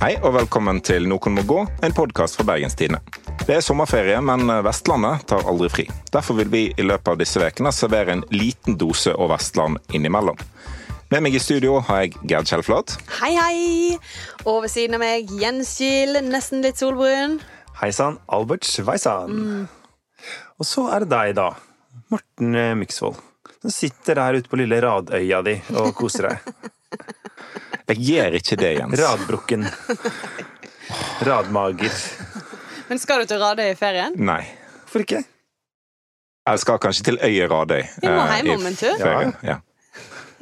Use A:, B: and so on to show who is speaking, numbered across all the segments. A: Hei og velkommen til Noen må gå, en podkast fra Bergenstidene. Det er sommerferie, men Vestlandet tar aldri fri. Derfor vil vi i løpet av disse ukene servere en liten dose og Vestland innimellom. Med meg i studio har jeg Gerd Kjellflat.
B: Hei, hei! Og ved siden av meg Jens Gill, nesten litt solbrun.
C: Hei sann, Albert Sveisan. Og så er det deg, da. Morten eh, Myksvold. Som sitter her ute på lille Radøya di og koser deg.
A: Jeg gjør ikke det, Jens.
C: Radbrukken. Radmager.
B: Men skal du til Radøy i ferien?
A: Nei.
C: Hvorfor ikke?
A: Jeg skal kanskje til øya Radøy.
B: Vi må
A: eh,
B: hjem
A: i
B: om en tur.
A: ferien, Ja.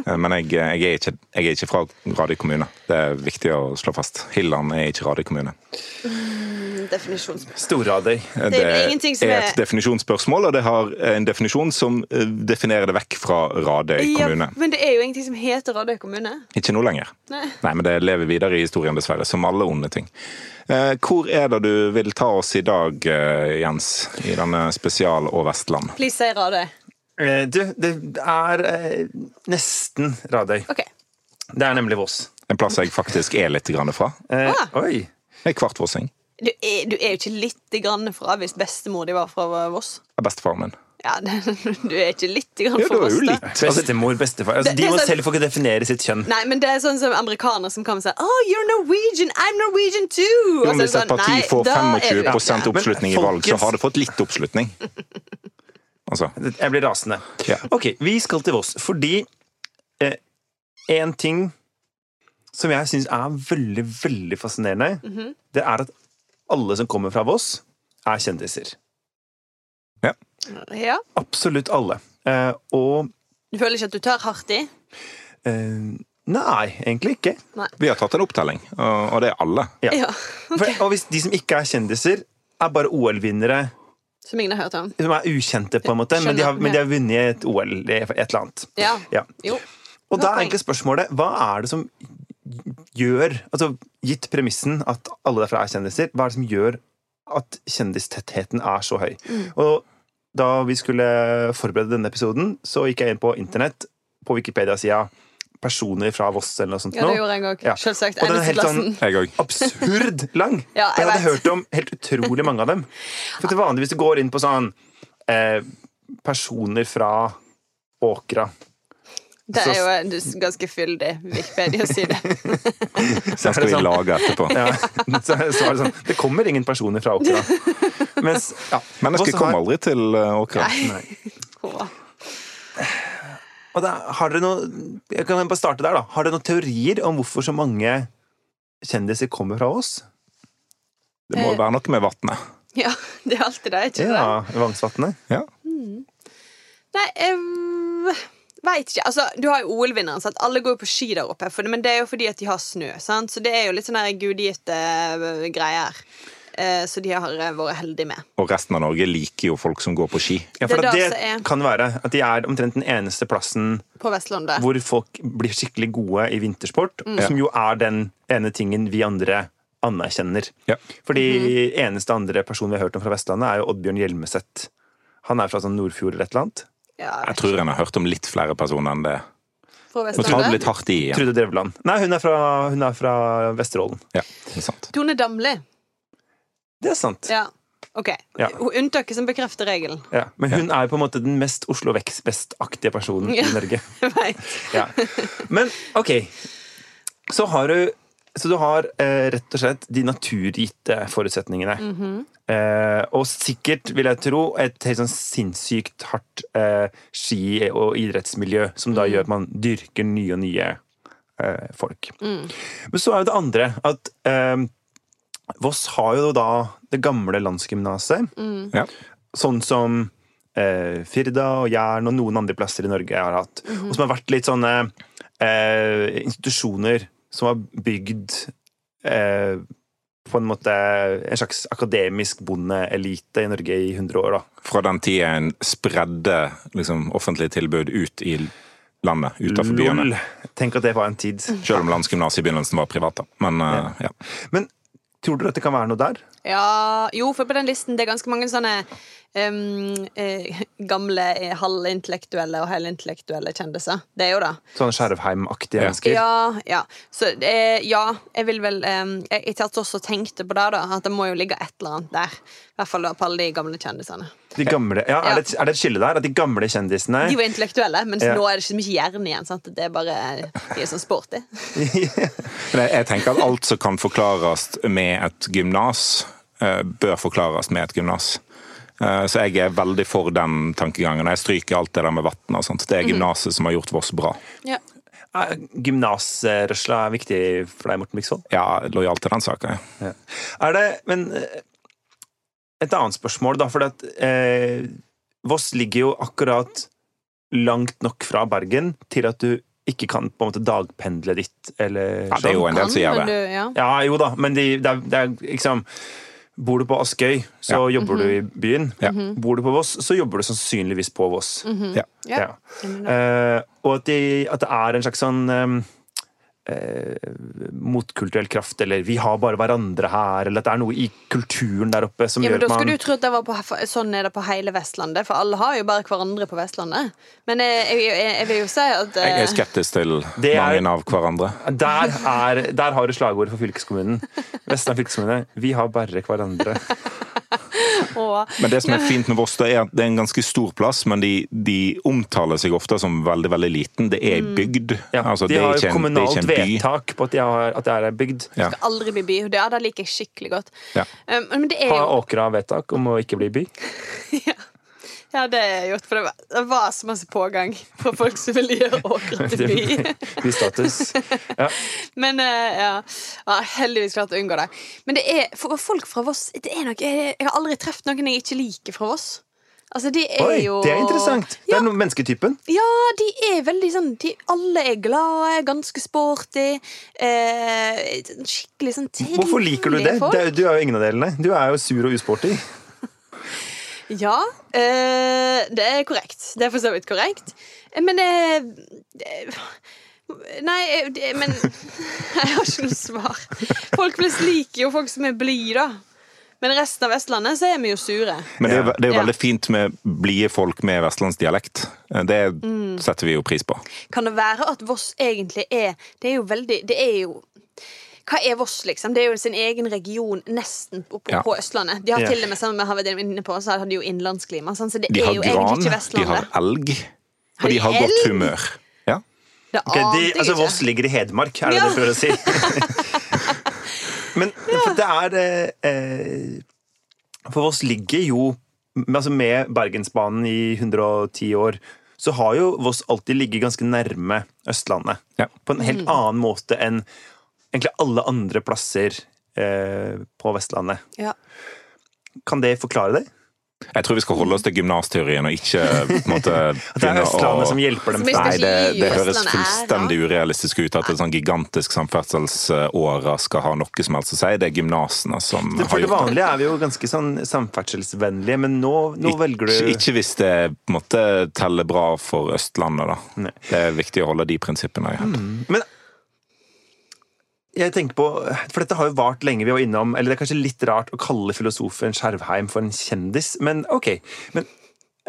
A: Eh, Men jeg, jeg, er ikke, jeg er ikke fra Radøy kommune. Det er viktig å slå fast. Hilland er ikke Radøy kommune.
B: Mm, Definisjonsspørsmål.
C: Storradøy.
A: Det,
B: Det er jo ingenting som
A: er
B: er-
A: et definisjonsspørsmål, og det har en definisjon som eh, definerer det vekk fra Radøy kommune.
B: men det er jo ingenting som heter Radøy kommune.
A: Ikke nå lenger.
B: Nei.
A: Nei, men det lever videre i historien, dessverre. Som alle onde ting. Eh, hvor er det du vil ta oss i dag, eh, Jens? I denne spesial- og Vestland?
B: Please si Radøy.
C: Eh, Du, det er eh, nesten Radøy.
B: OK.
C: Det er nemlig Voss.
A: En plass jeg faktisk er litt grann fra.
C: Eh,
B: Ah.
C: Oi.
A: Jeg er kvartvossing.
B: Du er, du er jo ikke lite grann fra hvis bestemor di var fra Voss.
A: Det er Bestefaren min.
B: Ja, det, Du er ikke lite grann
A: Jo,
B: fra
A: det var jo
B: Voss, da.
A: litt. Altså,
C: Bestemor, bestefar. Altså,
B: Det- det
C: de
B: er
C: må
B: sånn-
C: selv få ikke definere sitt kjønn.
B: Nei, men det er sånn som amerikanere som kommer og sier Oh, you're Norwegian, I'm Norwegian too!
A: Jo, men hvis et parti får
B: opp
A: 25 oppslutning i
C: Men
A: valg, så
C: folkets-
A: har det fått litt oppslutning. Altså,
C: Jeg blir rasende.
A: Ja.
C: Ok, vi skal til Voss, fordi eh, en ting som jeg syns er veldig, veldig fascinerende, det er at alle som kommer fra Voss, er kjendiser.
B: Ja.
C: Absolutt alle. Eh, og
B: Du føler ikke at du tar hardt i?
C: eh, Nei, egentlig ikke.
A: vi har tatt en opptelling, og og det er alle.
C: Ja.
B: Ja.
C: For, og hvis de som ikke er kjendiser, er bare OL-vinnere
B: Som ingen har hørt om?
C: som er ukjente, på en måte, men de, har,
B: Skjønner.
C: men de har vunnet et OL, et eller annet.
B: Ja.
C: Ja.
B: Jo.
C: Og
B: Godt
C: da er
B: poeng.
C: egentlig spørsmålet hva er det som gjør Altså gitt premissen at alle derfra er kjendiser, hva er det som gjør at kjendistettheten er så høy?
B: Mm.
C: Og da vi skulle forberede denne episoden, så gikk jeg inn på internett, på Wikipedia-sida, personer fra Voss eller noe sånt.
B: Ja, det
C: nå.
B: gjorde jeg òg.
C: Ja.
B: Selvsagt.
C: Og den er helt
B: Eneste
C: sånn-
A: Jeg òg.
C: Absurd lang!
B: Ja,
C: jeg
B: jeg
C: hadde
B: vet.
C: hørt om helt utrolig mange av dem. For til vanligvis du går inn på sånn eh, Personer fra Åkra.
B: Det er jo en ganske fyldig Wikipedia-side.
A: Den skal vi lage etterpå.
C: sånn. Ja. Så, så var det sånn Det kommer ingen personer fra Åkra. Mens ja,
A: Mennesket
C: Voss
A: kom
C: har-
A: aldri til eh, Åkra.
B: Hvor-
C: Og da, har dere noe Jeg kan bare starte der, da. Har dere noen teorier om hvorfor så mange kjendiser kommer fra oss?
A: Det må jo være noe med vannet.
B: Ja, det er alltid det, ikke det?
C: Ja, Vangsvatnet.
A: Ja.
B: Nei, jeg veit ikke. Altså, du har jo OL-vinneren. sant? Alle går jo på ski der oppe, for, men det er jo fordi at de har snø. Sant? Så det er jo litt sånne her gudgitte eh, greier. eh, Så de har eh, vært heldige med.
A: Og resten av Norge liker jo folk som går på ski.
C: Ja, for
B: Det er
C: det,
B: da
C: det
B: som er-
C: kan være at de er omtrent den eneste plassen
B: På Vestlandet.
C: hvor folk blir skikkelig gode i vintersport,
B: Mm.
C: som jo er den ene tingen vi andre anerkjenner.
A: Ja.
C: Fordi
B: Mhm.
C: eneste andre person vi har hørt om fra Vestlandet, er jo Oddbjørn Hjelmeset. Han er fra sånn Nordfjord eller et eller annet.
B: Ja,
A: Jeg tror en har hørt om litt flere personer enn det.
B: på
A: Nå tar du
B: Vestlandet.
A: litt hardt i igjen.
C: Trude Drevland. Nei, hun er fra, hun er fra Vesterålen.
A: Ja, det er sant.
B: Tone Damli.
C: Det er sant.
B: Ja. OK.
C: Ja.
B: Unntaket som bekrefter regelen.
C: Ja. Men hun er på en måte den mest Oslo Vekst-best-aktige personen
B: Ja.
C: i Norge.
B: Jeg vet.
C: Ja. Men ok, så har du så du har eh, rett og slett de naturgitte forutsetningene. eh, og sikkert, vil jeg tro, et helt sånn sinnssykt hardt eh, ski- og idrettsmiljø, som da gjør at man dyrker nye og nye eh, folk. Men så er jo det andre at eh, Voss har jo da det gamle landsgymnaset.
A: Ja.
C: Sånn som eh, Firda og Jæren og noen andre plasser i Norge har hatt.
B: Mhm.
C: Og som har vært litt sånne eh, institusjoner som har bygd eh, på en måte en slags akademisk bondeelite i Norge i 100 år, da.
A: Fra den tida en spredde liksom, offentlige tilbud ut i landet, utenfor byene.
C: Lol! Tenk at det var en tid.
B: Mm.
A: Selv om landsgymnaset i begynnelsen var privat, da. Men eh, ja.
C: Men tror dere at det kan være noe der?
B: Ja, jo, for på den listen det er ganske mange sånne em, eh, gamle eh, halvintellektuelle og helintellektuelle kjendiser. Det er jo det.
C: Sånn Skjervheim-aktige
A: Ja.
C: mennesker.
B: Ja, ja. Så, eh, ja, jeg vil vel eh, Jeg, jeg tatt også tenkte på det, da. At det må jo ligge et eller annet der. I hvert fall da, på alle de gamle kjendisene.
C: De gamle, ja,
B: Ja.
C: er, det, er det et skille der? At de gamle kjendisene
B: De var intellektuelle, mens
C: Ja.
B: nå er det ikke så mye hjerne igjen. Sant? Det er bare De er sånn sporty.
A: Men jeg- jeg tenker at alt som kan forklares med et gymnas, eh, bør forklares med et gymnas. Eh, Så jeg er veldig for den tankegangen. og Jeg stryker alt det der med vann og sånt. Det er gymnaset som har gjort Voss bra.
B: Ja.
C: Er Gymnasrørsla er viktig for deg, Morten Miksvold?
A: Ja, lojal til den saka, ja.
C: Ja. Er det Men eh, et annet spørsmål, da. For at eh, Voss ligger jo akkurat langt nok fra Bergen til at du ikke kan på en måte dagpendle dit, eller sånn.
A: ja. Det er jo en del som gjør det.
B: men du- ja.
C: Ja, jo da, men de, det, er, det er liksom Bor du på Askøy, så jobber du i byen.
A: Ja.
C: Bor du på Voss, så jobber du sannsynligvis på Voss.
A: Ja.
B: Ja.
C: Ja. Eh, og at, de, at det er en slags sånn ehm, eh, motkulturell kraft, eller 'vi har bare hverandre her', eller at det er noe i kulturen der oppe som
B: Ja, men
C: gjør
B: Da
C: at man
B: skulle du tro at det var på, sånn er det på hele Vestlandet, for alle har jo bare hverandre på Vestlandet. Men jeg, jeg, jeg, jeg vil jo si at
A: Jeg er
B: eh,
A: skeptisk til
C: Det er-
A: mange av hverandre.
C: der, er, der har du slagordet for fylkeskommunen. Vestland fylkeskommune. Vi har bare hverandre.
B: og,
A: Men det som er fint med Voss, det er at det er en ganske stor plass, men de, de omtaler seg ofte som veldig veldig liten. Det er ei bygd.
C: Ja,
A: Altså,
C: de
A: det er ikke en,
C: har
A: det er
C: kommunalt
A: ikke en by.
C: vedtak på at, de har, at det er ei bygd.
A: Ja.
B: skal aldri bli by. Det, ja, det liker jeg skikkelig godt.
A: Ja.
B: Um, men det er
C: Har
B: jo
C: Åkra vedtak om å ikke bli by?
B: Ja, det er jeg gjort, for det var, det var så masse pågang fra folk som ville gjøre Åkra til by.
C: Bystatus. Ja.
B: Men eh, ja, ja heldigvis klart å unngå det. Men det er, for folk fra Voss det er nok, jeg, jeg har aldri truffet noen jeg ikke liker fra Voss. Altså, de er
C: Oi,
B: jo
C: det er interessant! Det
B: Ja,
C: er noe mennesketypen.
B: ja, de er veldig sånn de, Alle er glade, ganske sporty. Eh, skikkelig sånn trivelige
C: Hvorfor liker du det?
B: folk.
C: Det er- Du er jo ingen av delene. Du er jo sur og usporty.
B: Ja, eh, det er korrekt. Det er for så vidt korrekt. Eh, Men eh, det- Nei, eh, det, men Jeg har ikke noe svar. Folk flest liker jo folk som er blide, da. Men resten av Vestlandet så er vi jo sure.
A: Men det er, jo- det er jo
B: Ja.
A: veldig fint med blide folk med vestlandsdialekt. Eh, Det
C: Mm.
A: setter vi jo pris på.
B: Kan det være at Voss egentlig er Det er jo veldig Det er jo hva er Voss, liksom? Det er jo sin egen region nesten på, på,
A: Ja.
B: på Østlandet. De har
C: Ja.
B: til og med sammen med har vært inne på, så har de jo innlandsklima. Sånn, så det
A: De
B: er
A: har
B: jo
A: gran,
B: egentlig ikke
A: de har
B: Vestlandet.
A: elg,
B: Har
A: og de
B: de
A: har godt
B: elg?
A: humør. Ja.
B: Det
C: Ok,
B: ante
C: de,
B: jeg
C: altså
B: ikke.
C: Voss ligger i Hedmark, er det
B: Ja.
C: det du prøver å si? Men for det er eh, eh, For Voss ligger jo men altså Med Bergensbanen i 110 år, så har jo Voss alltid ligget ganske nærme Østlandet.
A: Ja.
C: På en
B: Mm.
C: helt annen måte enn egentlig alle andre plasser eh, på Vestlandet.
B: Ja.
C: Kan det forklare det?
A: Jeg tror vi skal holde oss til gymnasteorien og ikke eh, på en måte,
C: At det er
A: begynne å
C: Østlandet som hjelper dem
B: Som
C: frem?
A: Nei, det, det
B: Østlandet
A: høres
B: er,
A: fullstendig urealistisk ut at et sånn gigantisk samferdselsåra skal ha noe som helst å si. Det er gymnasene som
C: Det-
A: har
C: For det
A: gjort det.
C: vanlige er vi jo ganske sånn samferdselsvennlige, men nå, nå velger
A: Ikke,
C: du
A: ikke hvis det på en måte teller bra for Østlandet, da.
C: Nei.
A: Det er viktig å holde de prinsippene i
B: Mm.
A: hevd.
C: Men jeg tenker på, for dette har jo vart lenge vi var innom, eller det er kanskje litt rart å kalle filosofen Skjervheim for en kjendis, men ok. Men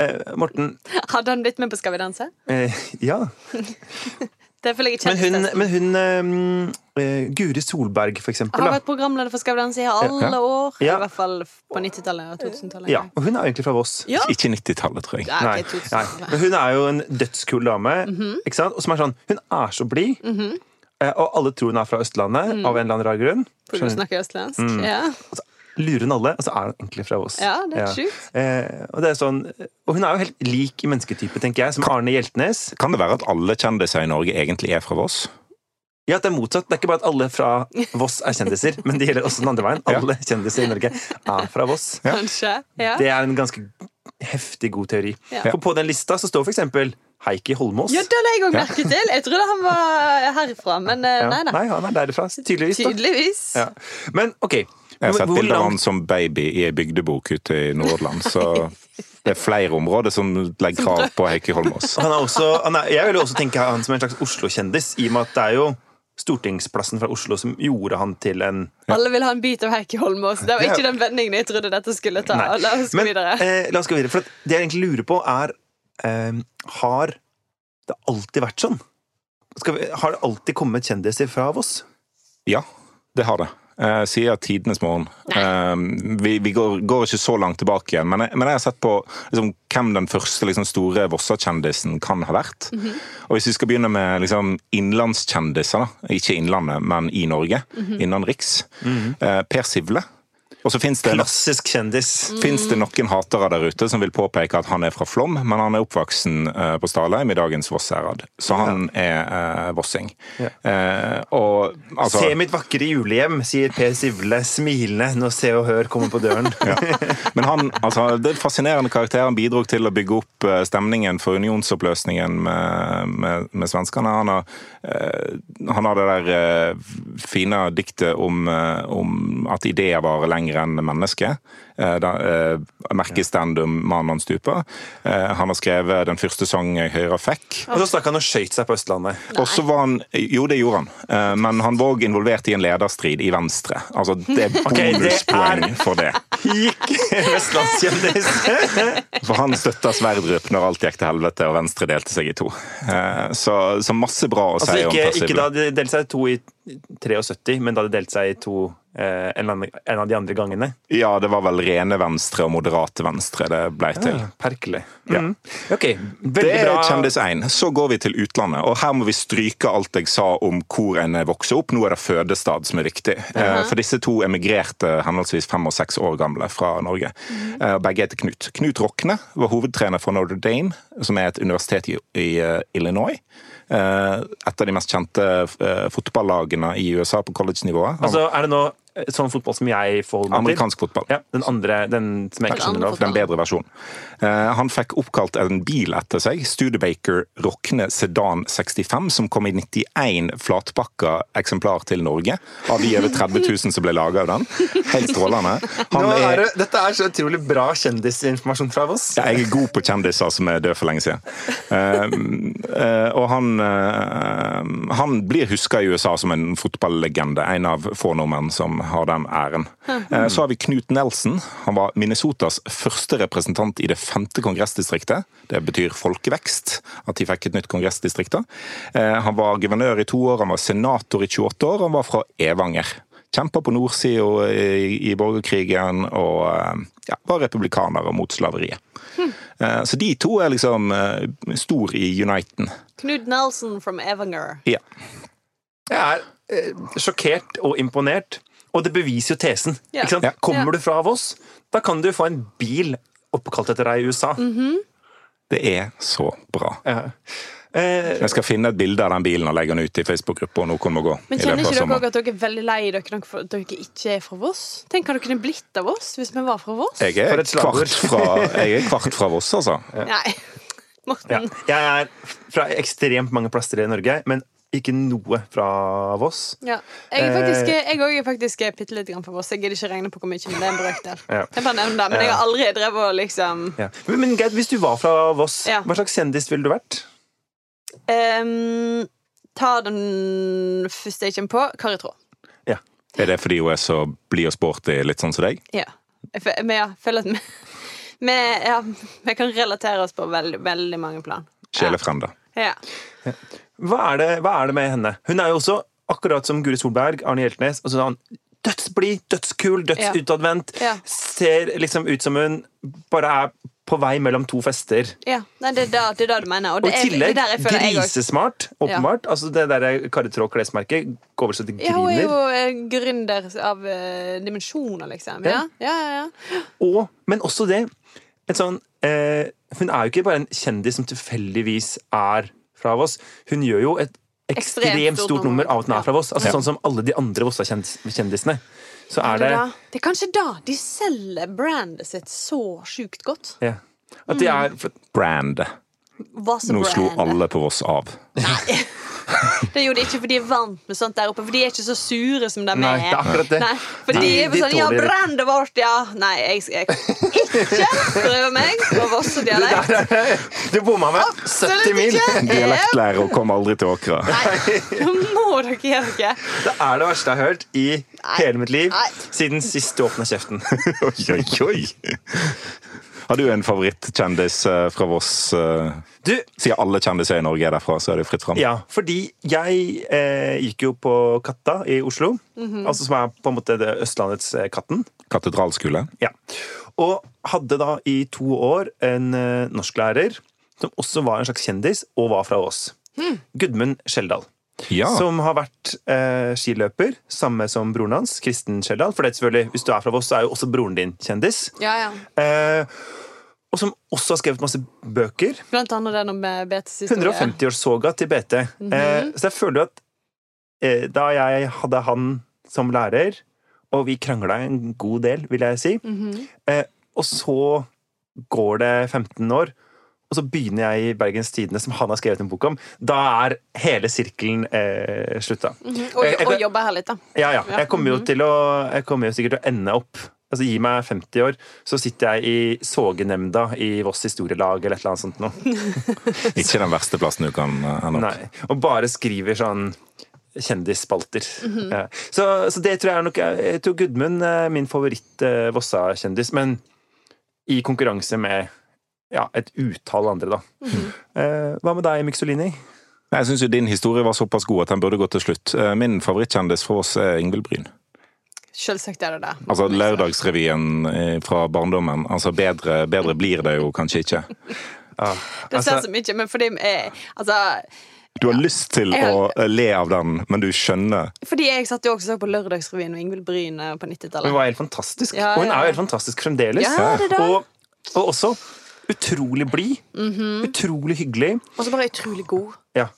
C: eh, Morten,
B: Hadde han blitt med på Skal vi danse?
C: eh, ja.
B: Det føler jeg ikke
C: Men hun,
B: kjennes til.
C: men hun eh, eh, Guri Solberg, for
B: Jeg har
C: eksempel, da.
B: vært programleder for Skal vi danse i alle
A: Ja.
B: år.
C: Ja.
B: I hvert fall på 90-tallet og 2000-tallet.
C: Ja, og hun er jo egentlig fra Voss.
B: Ja.
A: Ikke 90-tallet, tror jeg.
B: Nei,
C: Nei,
B: ikke
C: nei.
B: 2000-tallet.
C: Men hun er jo en dødskul dame,
B: Mhm.
C: ikke sant? Og som er sånn, hun er så blid, eh, og alle tror hun er fra Østlandet,
B: Mhm.
C: av en eller annen rar grunn.
B: For du snakker østlandsk.
C: Mm.
B: Ja.
C: lurer hun alle, og så er hun egentlig fra Voss.
B: Ja, det er sjukt.
C: Eh, og, det er sånn, og hun er jo helt lik i mennesketype, tenker jeg, som Arne Hjeltnes.
A: Kan det være at alle kjendiser i Norge egentlig er fra Voss?
C: Ja, at det er motsatt. Det er ikke bare at alle fra Voss er kjendiser, men det gjelder også den andre veien. Alle kjendiser i Norge er fra Voss.
B: Kanskje. Ja.
C: Det er en ganske heftig god teori.
B: Ja.
C: For på den lista så står for eksempel Heikki Holmås.
B: Ja, det la jeg òg merke til! Jeg trodde han var herfra, men eh,
C: Ja.
B: nei da.
C: Nei, han er derifra, tydeligvis. Da.
B: Tydeligvis.
C: Ja. Men ok.
A: Jeg har sett
C: Hvor
A: bilder av
C: langt-
A: han som baby i ei bygdebok ute i Nordland, så det er flere områder som legger krav på Heikki Holmås.
C: Han er også, han er, jeg vil jo også tenke han som en slags Oslo-kjendis, i og med at det er jo stortingsplassen fra Oslo som gjorde han til en
B: Alle vil ha en bit av Heikki Holmås. Det var ikke den vendingen jeg trodde dette skulle ta.
C: Nei.
B: La oss gå
C: Men
B: videre.
C: eh, la oss gå videre. For at det jeg egentlig lurer på, er eh, Har det alltid vært sånn? Skal vi, har det alltid kommet kjendiser fra Voss?
A: Ja, det har det. Eh, sier tidenes morgen. Eh, vi vi går, går ikke så langt tilbake igjen, men jeg, men jeg har sett på liksom, hvem den første liksom, store Vossa-kjendisen kan ha vært.
C: Mhm.
A: Og hvis vi skal begynne med liksom, innlandskjendiser, da. ikke Innlandet, men i Norge,
C: Mhm.
A: innenriks. Eh, per Sivle. Og så fins det Mm. en
C: Klassisk kjendis.
A: Fins det noen hatere der ute som vil påpeke at han er fra Flom, men han er oppvoksen eh, på Stalheim i dagens Voss-herad. Så han er eh, vossing. Eh, og altså
C: Se mitt vakre julehjem, sier Per Sivle smilende når Se og Hør kommer på døren.
A: Men han, altså, det er en fascinerende karakter. Han bidro til å bygge opp eh, stemningen for unionsoppløsningen med, med, med svenskene. Han har, eh, han har det der eh, fine diktet om, eh, om at ideer varer lenger enn mennesket. Eh, da, eh, Merkestandum 'Mannen han stuper'. Eh, han har skrevet den første sangen jeg hører fikk.
C: Og så stakk han og skøyt seg på Østlandet.
A: Og så var han Jo, det gjorde han. Eh, men han var òg involvert i en lederstrid i Venstre. Altså, det er
C: det er-
A: bonuspoeng for det.
C: Gikk vestlandskjendis!
A: For han støtta Sverdrup når alt gikk til helvete og Venstre delte seg i to. Eh, Så, så masse bra å
C: Altså
A: si om
C: ikke,
A: Per
C: ikke
A: Sivle.
C: da de delte seg i to i 73, men da de delte seg i to eh, en, eller annen, en av de andre gangene.
A: Ja, det var vel rene Venstre og moderate Venstre det blei til.
C: Perkelig.
A: Ja.
C: Mm. Ok,
A: Det
C: veldig
A: er
C: bra.
A: kjendis 1. Så går vi til utlandet, og her må vi stryke alt jeg sa om hvor en vokser opp. Nå er det fødestad som er viktig. Eh, For disse to emigrerte henholdsvis fem og seks år gamle fra Norge.
C: Mhm.
A: Eh, og Begge heter Knut. Knut Rokne var hovedtrener for Notre Dame, som er et universitet i, i eh, Illinois. Eh, Et av de mest kjente eh, fotballagene i USA på college-nivået.
C: Altså, er det nå eh, sånn fotball som jeg forholder meg til?
A: Amerikansk fotball.
C: Ja, den andre, den som jeg ikke
B: Den
C: skjønner
B: andre
C: av.
A: Den bedre versjonen. Eh, han fikk oppkalt en bil etter seg, Studebaker Rockne Sedan 65, som kom i 91 flatpakka eksemplar til Norge. Av de over 30 000 som ble laga av den. Helt strålende. Han
C: Nå er
A: er
C: det- dette er så utrolig bra kjendisinformasjon fra oss.
A: ja, jeg er god på kjendiser som er døde for lenge siden. Eh, eh, og han, eh, han blir huska i USA som en fotballegende. En av få nordmenn som har den æren. Eh, så har vi Knut Nelson. Han var Minnesotas første representant i det femte kongressdistriktet. Det betyr folkevekst, at de fikk et nytt kongressdistrikt. da. Eh, han var guvernør i to år, han var senator i 28 år, han var fra Evanger kjempa på nordsida i, i borgerkrigen og eh, ja, var republikanere mot slaveriet. Eh, Så de to er liksom eh, stor i Uniten.
B: Knut Nelson from Evanger.
A: Ja.
C: Jeg er eh, sjokkert og imponert, og det beviser jo tesen.
B: Ja.
C: Ikke sant?
A: Ja.
C: Kommer
B: Ja.
C: du fra Voss, da kan du få en bil oppkalt etter deg i USA.
A: Mhm. Det er så bra.
C: Ja. Eh,
A: Jeg skal finne et bilde av den bilen og legge den ut i Facebook-gruppa. og Noen må gå.
B: Men
A: i løpet av
B: kjenner ikke dere
A: sommeren.
B: også at dere er veldig lei dere, dere, for- dere ikke er fra Voss? Tenk hva dere kunne blitt av oss hvis vi var fra Voss.
A: Jeg
C: For
A: er,
C: et slagord.
A: kvart fra, jeg er kvart fra Voss, altså.
B: Nei.
C: ja.
B: Morten.
C: Jeg er fra ekstremt mange plasser i Norge, men ikke noe fra Voss.
B: Ja. Jeg er faktisk,
C: Eh.
B: jeg òg er faktisk bitte lite grann fra Voss. Jeg gidder ikke regne på hvor mye, men det er en brøkdel.
C: Ja. Eh.
B: Jeg bare nevner det, men jeg har aldri drevet og liksom
C: Ja. Men, men Gerd, hvis du var fra Voss,
B: Ja.
C: hva slags kjendis ville du vært?
B: Ehm, Ta den første jeg kommer på. Kari Traa.
A: Er det fordi hun er så blid og sporty, litt sånn som deg?
B: Ja. Jeg fø- Men jeg føler at vi, vi, ja, vi kan relatere oss på veldig, veldig mange plan.
A: Sjelefrende.
B: Ja.
C: Hva er, det, hva er det med henne? Hun er jo også, akkurat som Guri Solberg, Arne Hjeltnes altså han, Dødsblid, dødskul, dødsutadvendt.
B: Ja. Ja.
C: Ser liksom ut som hun bare er på vei mellom to fester.
B: ja. Nei, det er det, det, er det du mener. Og
C: Og
B: det er, det
C: i
B: er
C: tillegg
B: der jeg føler jeg også
C: grisesmart, åpenbart. Altså Det der Kari Traa-klesmerket går vel så det
B: ja, hun er
C: griner.
B: jo eh, gründer av eh, dimensjoner, liksom. Ja, ja, ja. ja.
C: Og, men også det et sånn, eh, Hun er jo ikke bare en kjendis som tilfeldigvis er fra Voss. Hun gjør jo et ekstremt, stort nummer av at hun
B: Ja.
C: er fra Voss. Altså Sånn som alle de andre Vossa-kjendisene. Så er det
B: Det, det er kanskje da de selger brandet sitt så sjukt godt.
C: ja, At de er for-
A: Brand.
B: Hva som
A: Nå slo
B: brand.
A: alle på Voss av.
B: Det gjorde de ikke, for de er vant med sånt der oppe. For de er ikke så sure som de
C: Nei,
B: er.
C: det er akkurat det.
B: Nei, for de,
C: De-
B: er
C: de
B: bare sånn Ja,
C: tåler det.
B: brenn det bort, ja! Nei, jeg skal ikke prøve meg på Vosse-dialekt.
C: Du bomma med 70 mil!
B: Absolutt ikke.
A: Dialektlærer kommer aldri til Åkra.
B: Nei, nå må dere gjøre dere.
C: Det er det verste jeg har hørt i hele mitt liv
B: Nei.
C: siden sist du åpna kjeften.
A: Oi, oi, oi. Har du en favorittkjendis eh, fra Voss? eh,
C: Du,
A: Siden alle kjendiser i Norge er derfra, så er det fritt fram.
C: ja, fordi jeg eh, gikk jo på Katta i Oslo,
B: Mhm.
C: altså som er på en måte det Østlandets eh, Katten.
A: Katedralskole.
C: Ja. Og hadde da i to år en eh, norsklærer som også var en slags kjendis, og var fra Ås. Gudmund Skjeldal.
A: Ja.
C: Som har vært eh, skiløper, samme som broren hans, Kristen Skjeldal. For det er selvfølgelig, hvis du er fra Voss, så er jo også broren din kjendis.
B: Ja, ja.
C: Eh, og som også har skrevet masse bøker.
B: Blant annet den om eh, BTs-historie.
C: 150-årssoga til BT. eh, så jeg føler jo at eh, da jeg hadde han som lærer, og vi krangla en god del, vil jeg si, eh, og så går det 15 år, og så begynner jeg i Bergens Tidende, som han har skrevet en bok om. Da er hele sirkelen eh, slutta.
B: Og,
C: Jeg- jeg-
B: og jobbe her litt, da.
C: Ja, ja.
B: Mhm. Ja.
C: Jeg kommer jo til å Jeg kommer jo sikkert til å ende opp Altså, Gi meg 50 år, så sitter jeg i sogenemnda i Voss historielag eller et eller annet sånt noe.
A: Ikke den verste plassen du kan eh, ende opp.
C: Nei. Og bare skriver sånn kjendisspalter.
B: Mhm.
C: Ja. så, så det tror jeg er nok Jeg tror Gudmund er min favoritt-Vossa-kjendis, men i konkurranse med ja, et utall andre, da.
B: Mhm.
C: Eh, Hva med deg, Myksolini?
A: Nei, Jeg syns din historie var såpass god at den burde gå til slutt. Eh, Min favorittkjendis fra Voss er Ingvild Bryn.
B: Selvsagt er det det.
A: Altså Lørdagsrevyen eh, fra barndommen. Altså, bedre, bedre blir det jo kanskje ikke.
B: Det ser
C: Altså-
B: så mye, men fordi eh, Altså
A: Du har lyst til
B: Jeg
A: å
B: har-
A: eh, le av den, men du skjønner
B: Fordi jeg satt jo også og så på Lørdagsrevyen og Ingvild Bryn eh, på 90-tallet.
C: Hun var helt fantastisk.
B: Ja,
C: Og hun
B: ja,
C: er jo
B: ja.
C: helt fantastisk fremdeles.
B: Ja, det er det.
C: Og, og også utrolig blid.
B: Mhm.
C: Utrolig hyggelig.
B: Og så bare utrolig god.
C: Ja.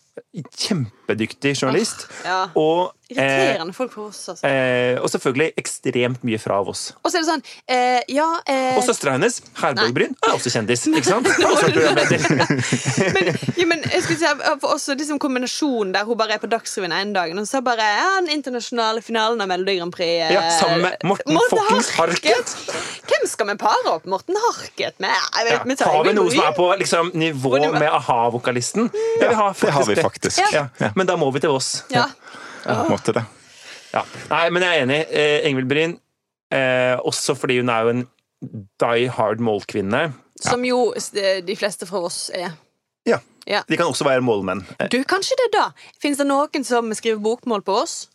C: Kjempedyktig journalist.
B: Ja.
C: Og, eh,
B: Irriterende folk på oss, altså.
C: eh, og selvfølgelig ekstremt mye fra Voss.
B: Og så er det sånn eh, Ja, eh,
C: Og søstera hennes, Herborg Bryn, er også kjendis. ikke sant? Også programleder.
B: men, ja, men jeg skulle si eh, for også liksom kombinasjonen der hun bare er på Dagsrevyen ene dagen, og så bare ja, den internasjonale finalen av Melodi Grand Prix eh,
C: Ja, sammen med Morten fuckings
B: Hvem skal vi pare opp Morten Harket med? Jeg vet,
C: Ja.
B: vi tar
C: Har vi
B: Ingvild
C: noe som er
B: Bryn.
C: på liksom, nivå
B: Hvor du-
C: med a-ha-vokalisten? Ja, vi har
A: Det har vi
C: det.
A: faktisk.
C: Ja. Men da må vi til Voss.
B: Ja.
A: Måtte det.
C: Ja. Nei, men jeg er enig. Eh, Ingvild Bryn. Eh, også fordi hun er jo en die hard målkvinne.
B: Som jo s- de de fleste fra oss er.
C: Ja.
B: Ja.
C: De kan også være målmenn. Eh,
B: Du, kanskje det, da? Fins det noen som skriver bokmål på oss?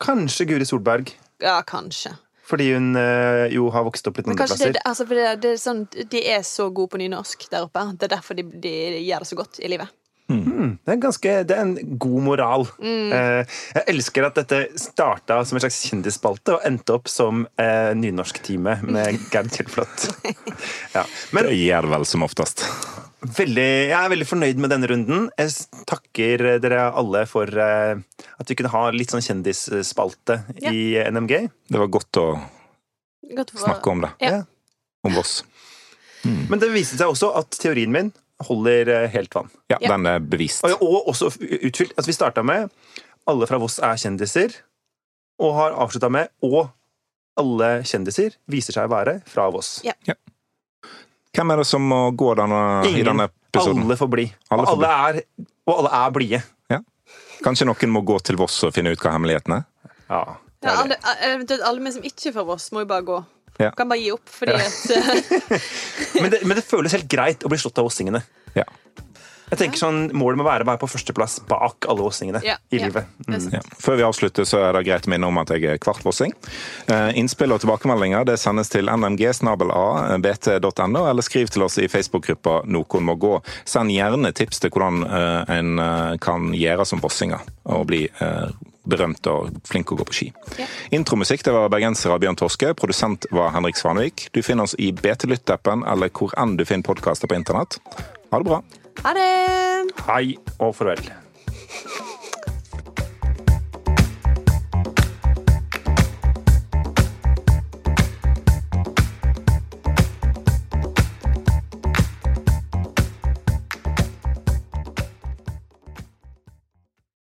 C: kanskje Guri Solberg.
B: Ja, kanskje.
C: Fordi hun eh, jo har vokst opp litt andre
B: Kanskje det,
C: plasser.
B: det- altså, for det, det er sånn, De er så gode på nynorsk der oppe. Det er derfor de, de gjør det så godt i livet.
C: Det er, en ganske, det er en god moral. Eh, jeg elsker at dette starta som en slags kjendisspalte og endte opp som eh, nynorsktime med Gerd Kjellflot. Ja. Men
A: Det gjør det vel som oftest.
C: veldig, jeg er veldig fornøyd med denne runden. Jeg s- takker eh, dere alle for eh, at vi kunne ha litt sånn kjendisspalte
B: Ja.
C: i eh, NMG.
A: Det var godt å
B: Godt for,
A: snakke om det.
B: Ja.
C: Ja.
A: Om Voss.
C: Men det viste seg også at teorien min holder eh, helt vann.
A: Ja,
B: Ja.
A: den er bevist.
C: Og, og også utfylt. Altså, vi starta med alle fra Voss er kjendiser, og har avslutta med og alle kjendiser viser seg å være fra Voss.
B: Ja.
A: Hvem er det som må gå denne, i
C: Ingen.
A: denne episoden?
C: Alle får bli.
A: Alle
C: Og
A: får bli.
C: alle er, og alle er blide.
A: Kanskje noen må gå til Voss og finne ut hva hemmeligheten er?
C: Ja, det
B: Ja,
C: er
B: alle, eh,
C: det.
B: eventuelt alle vi som ikke er fra Voss, må jo bare gå.
A: Ja.
B: Kan bare gi opp, fordi at eh,
C: Men, det, men det føles helt greit å bli slått av vossingene.
A: Ja.
C: Jeg tenker sånn, Målet må være å være på førsteplass bak alle vossingene
B: Ja,
C: i
B: ja.
C: livet.
B: Det er sant.
A: Ja. Før vi avslutter, så er det greit å minne om at jeg er kvartvossing. Eh, Innspill og tilbakemeldinger det sendes til eh, nmg.bt.no, eller skriv til oss i Facebook-gruppa Noen må gå. Send gjerne tips til hvordan eh, en eh, kan gjøre som vossinger og bli eh, berømt og flink å gå på ski.
B: Ja.
A: Intromusikk det var bergenser av Bjørn Torske. Produsent var Henrik Svanvik. Du finner oss i BT Lytt-appen eller hvor enn du finner podkaster på internett. Ha det bra.
B: Ha det!
C: Hei og farvel.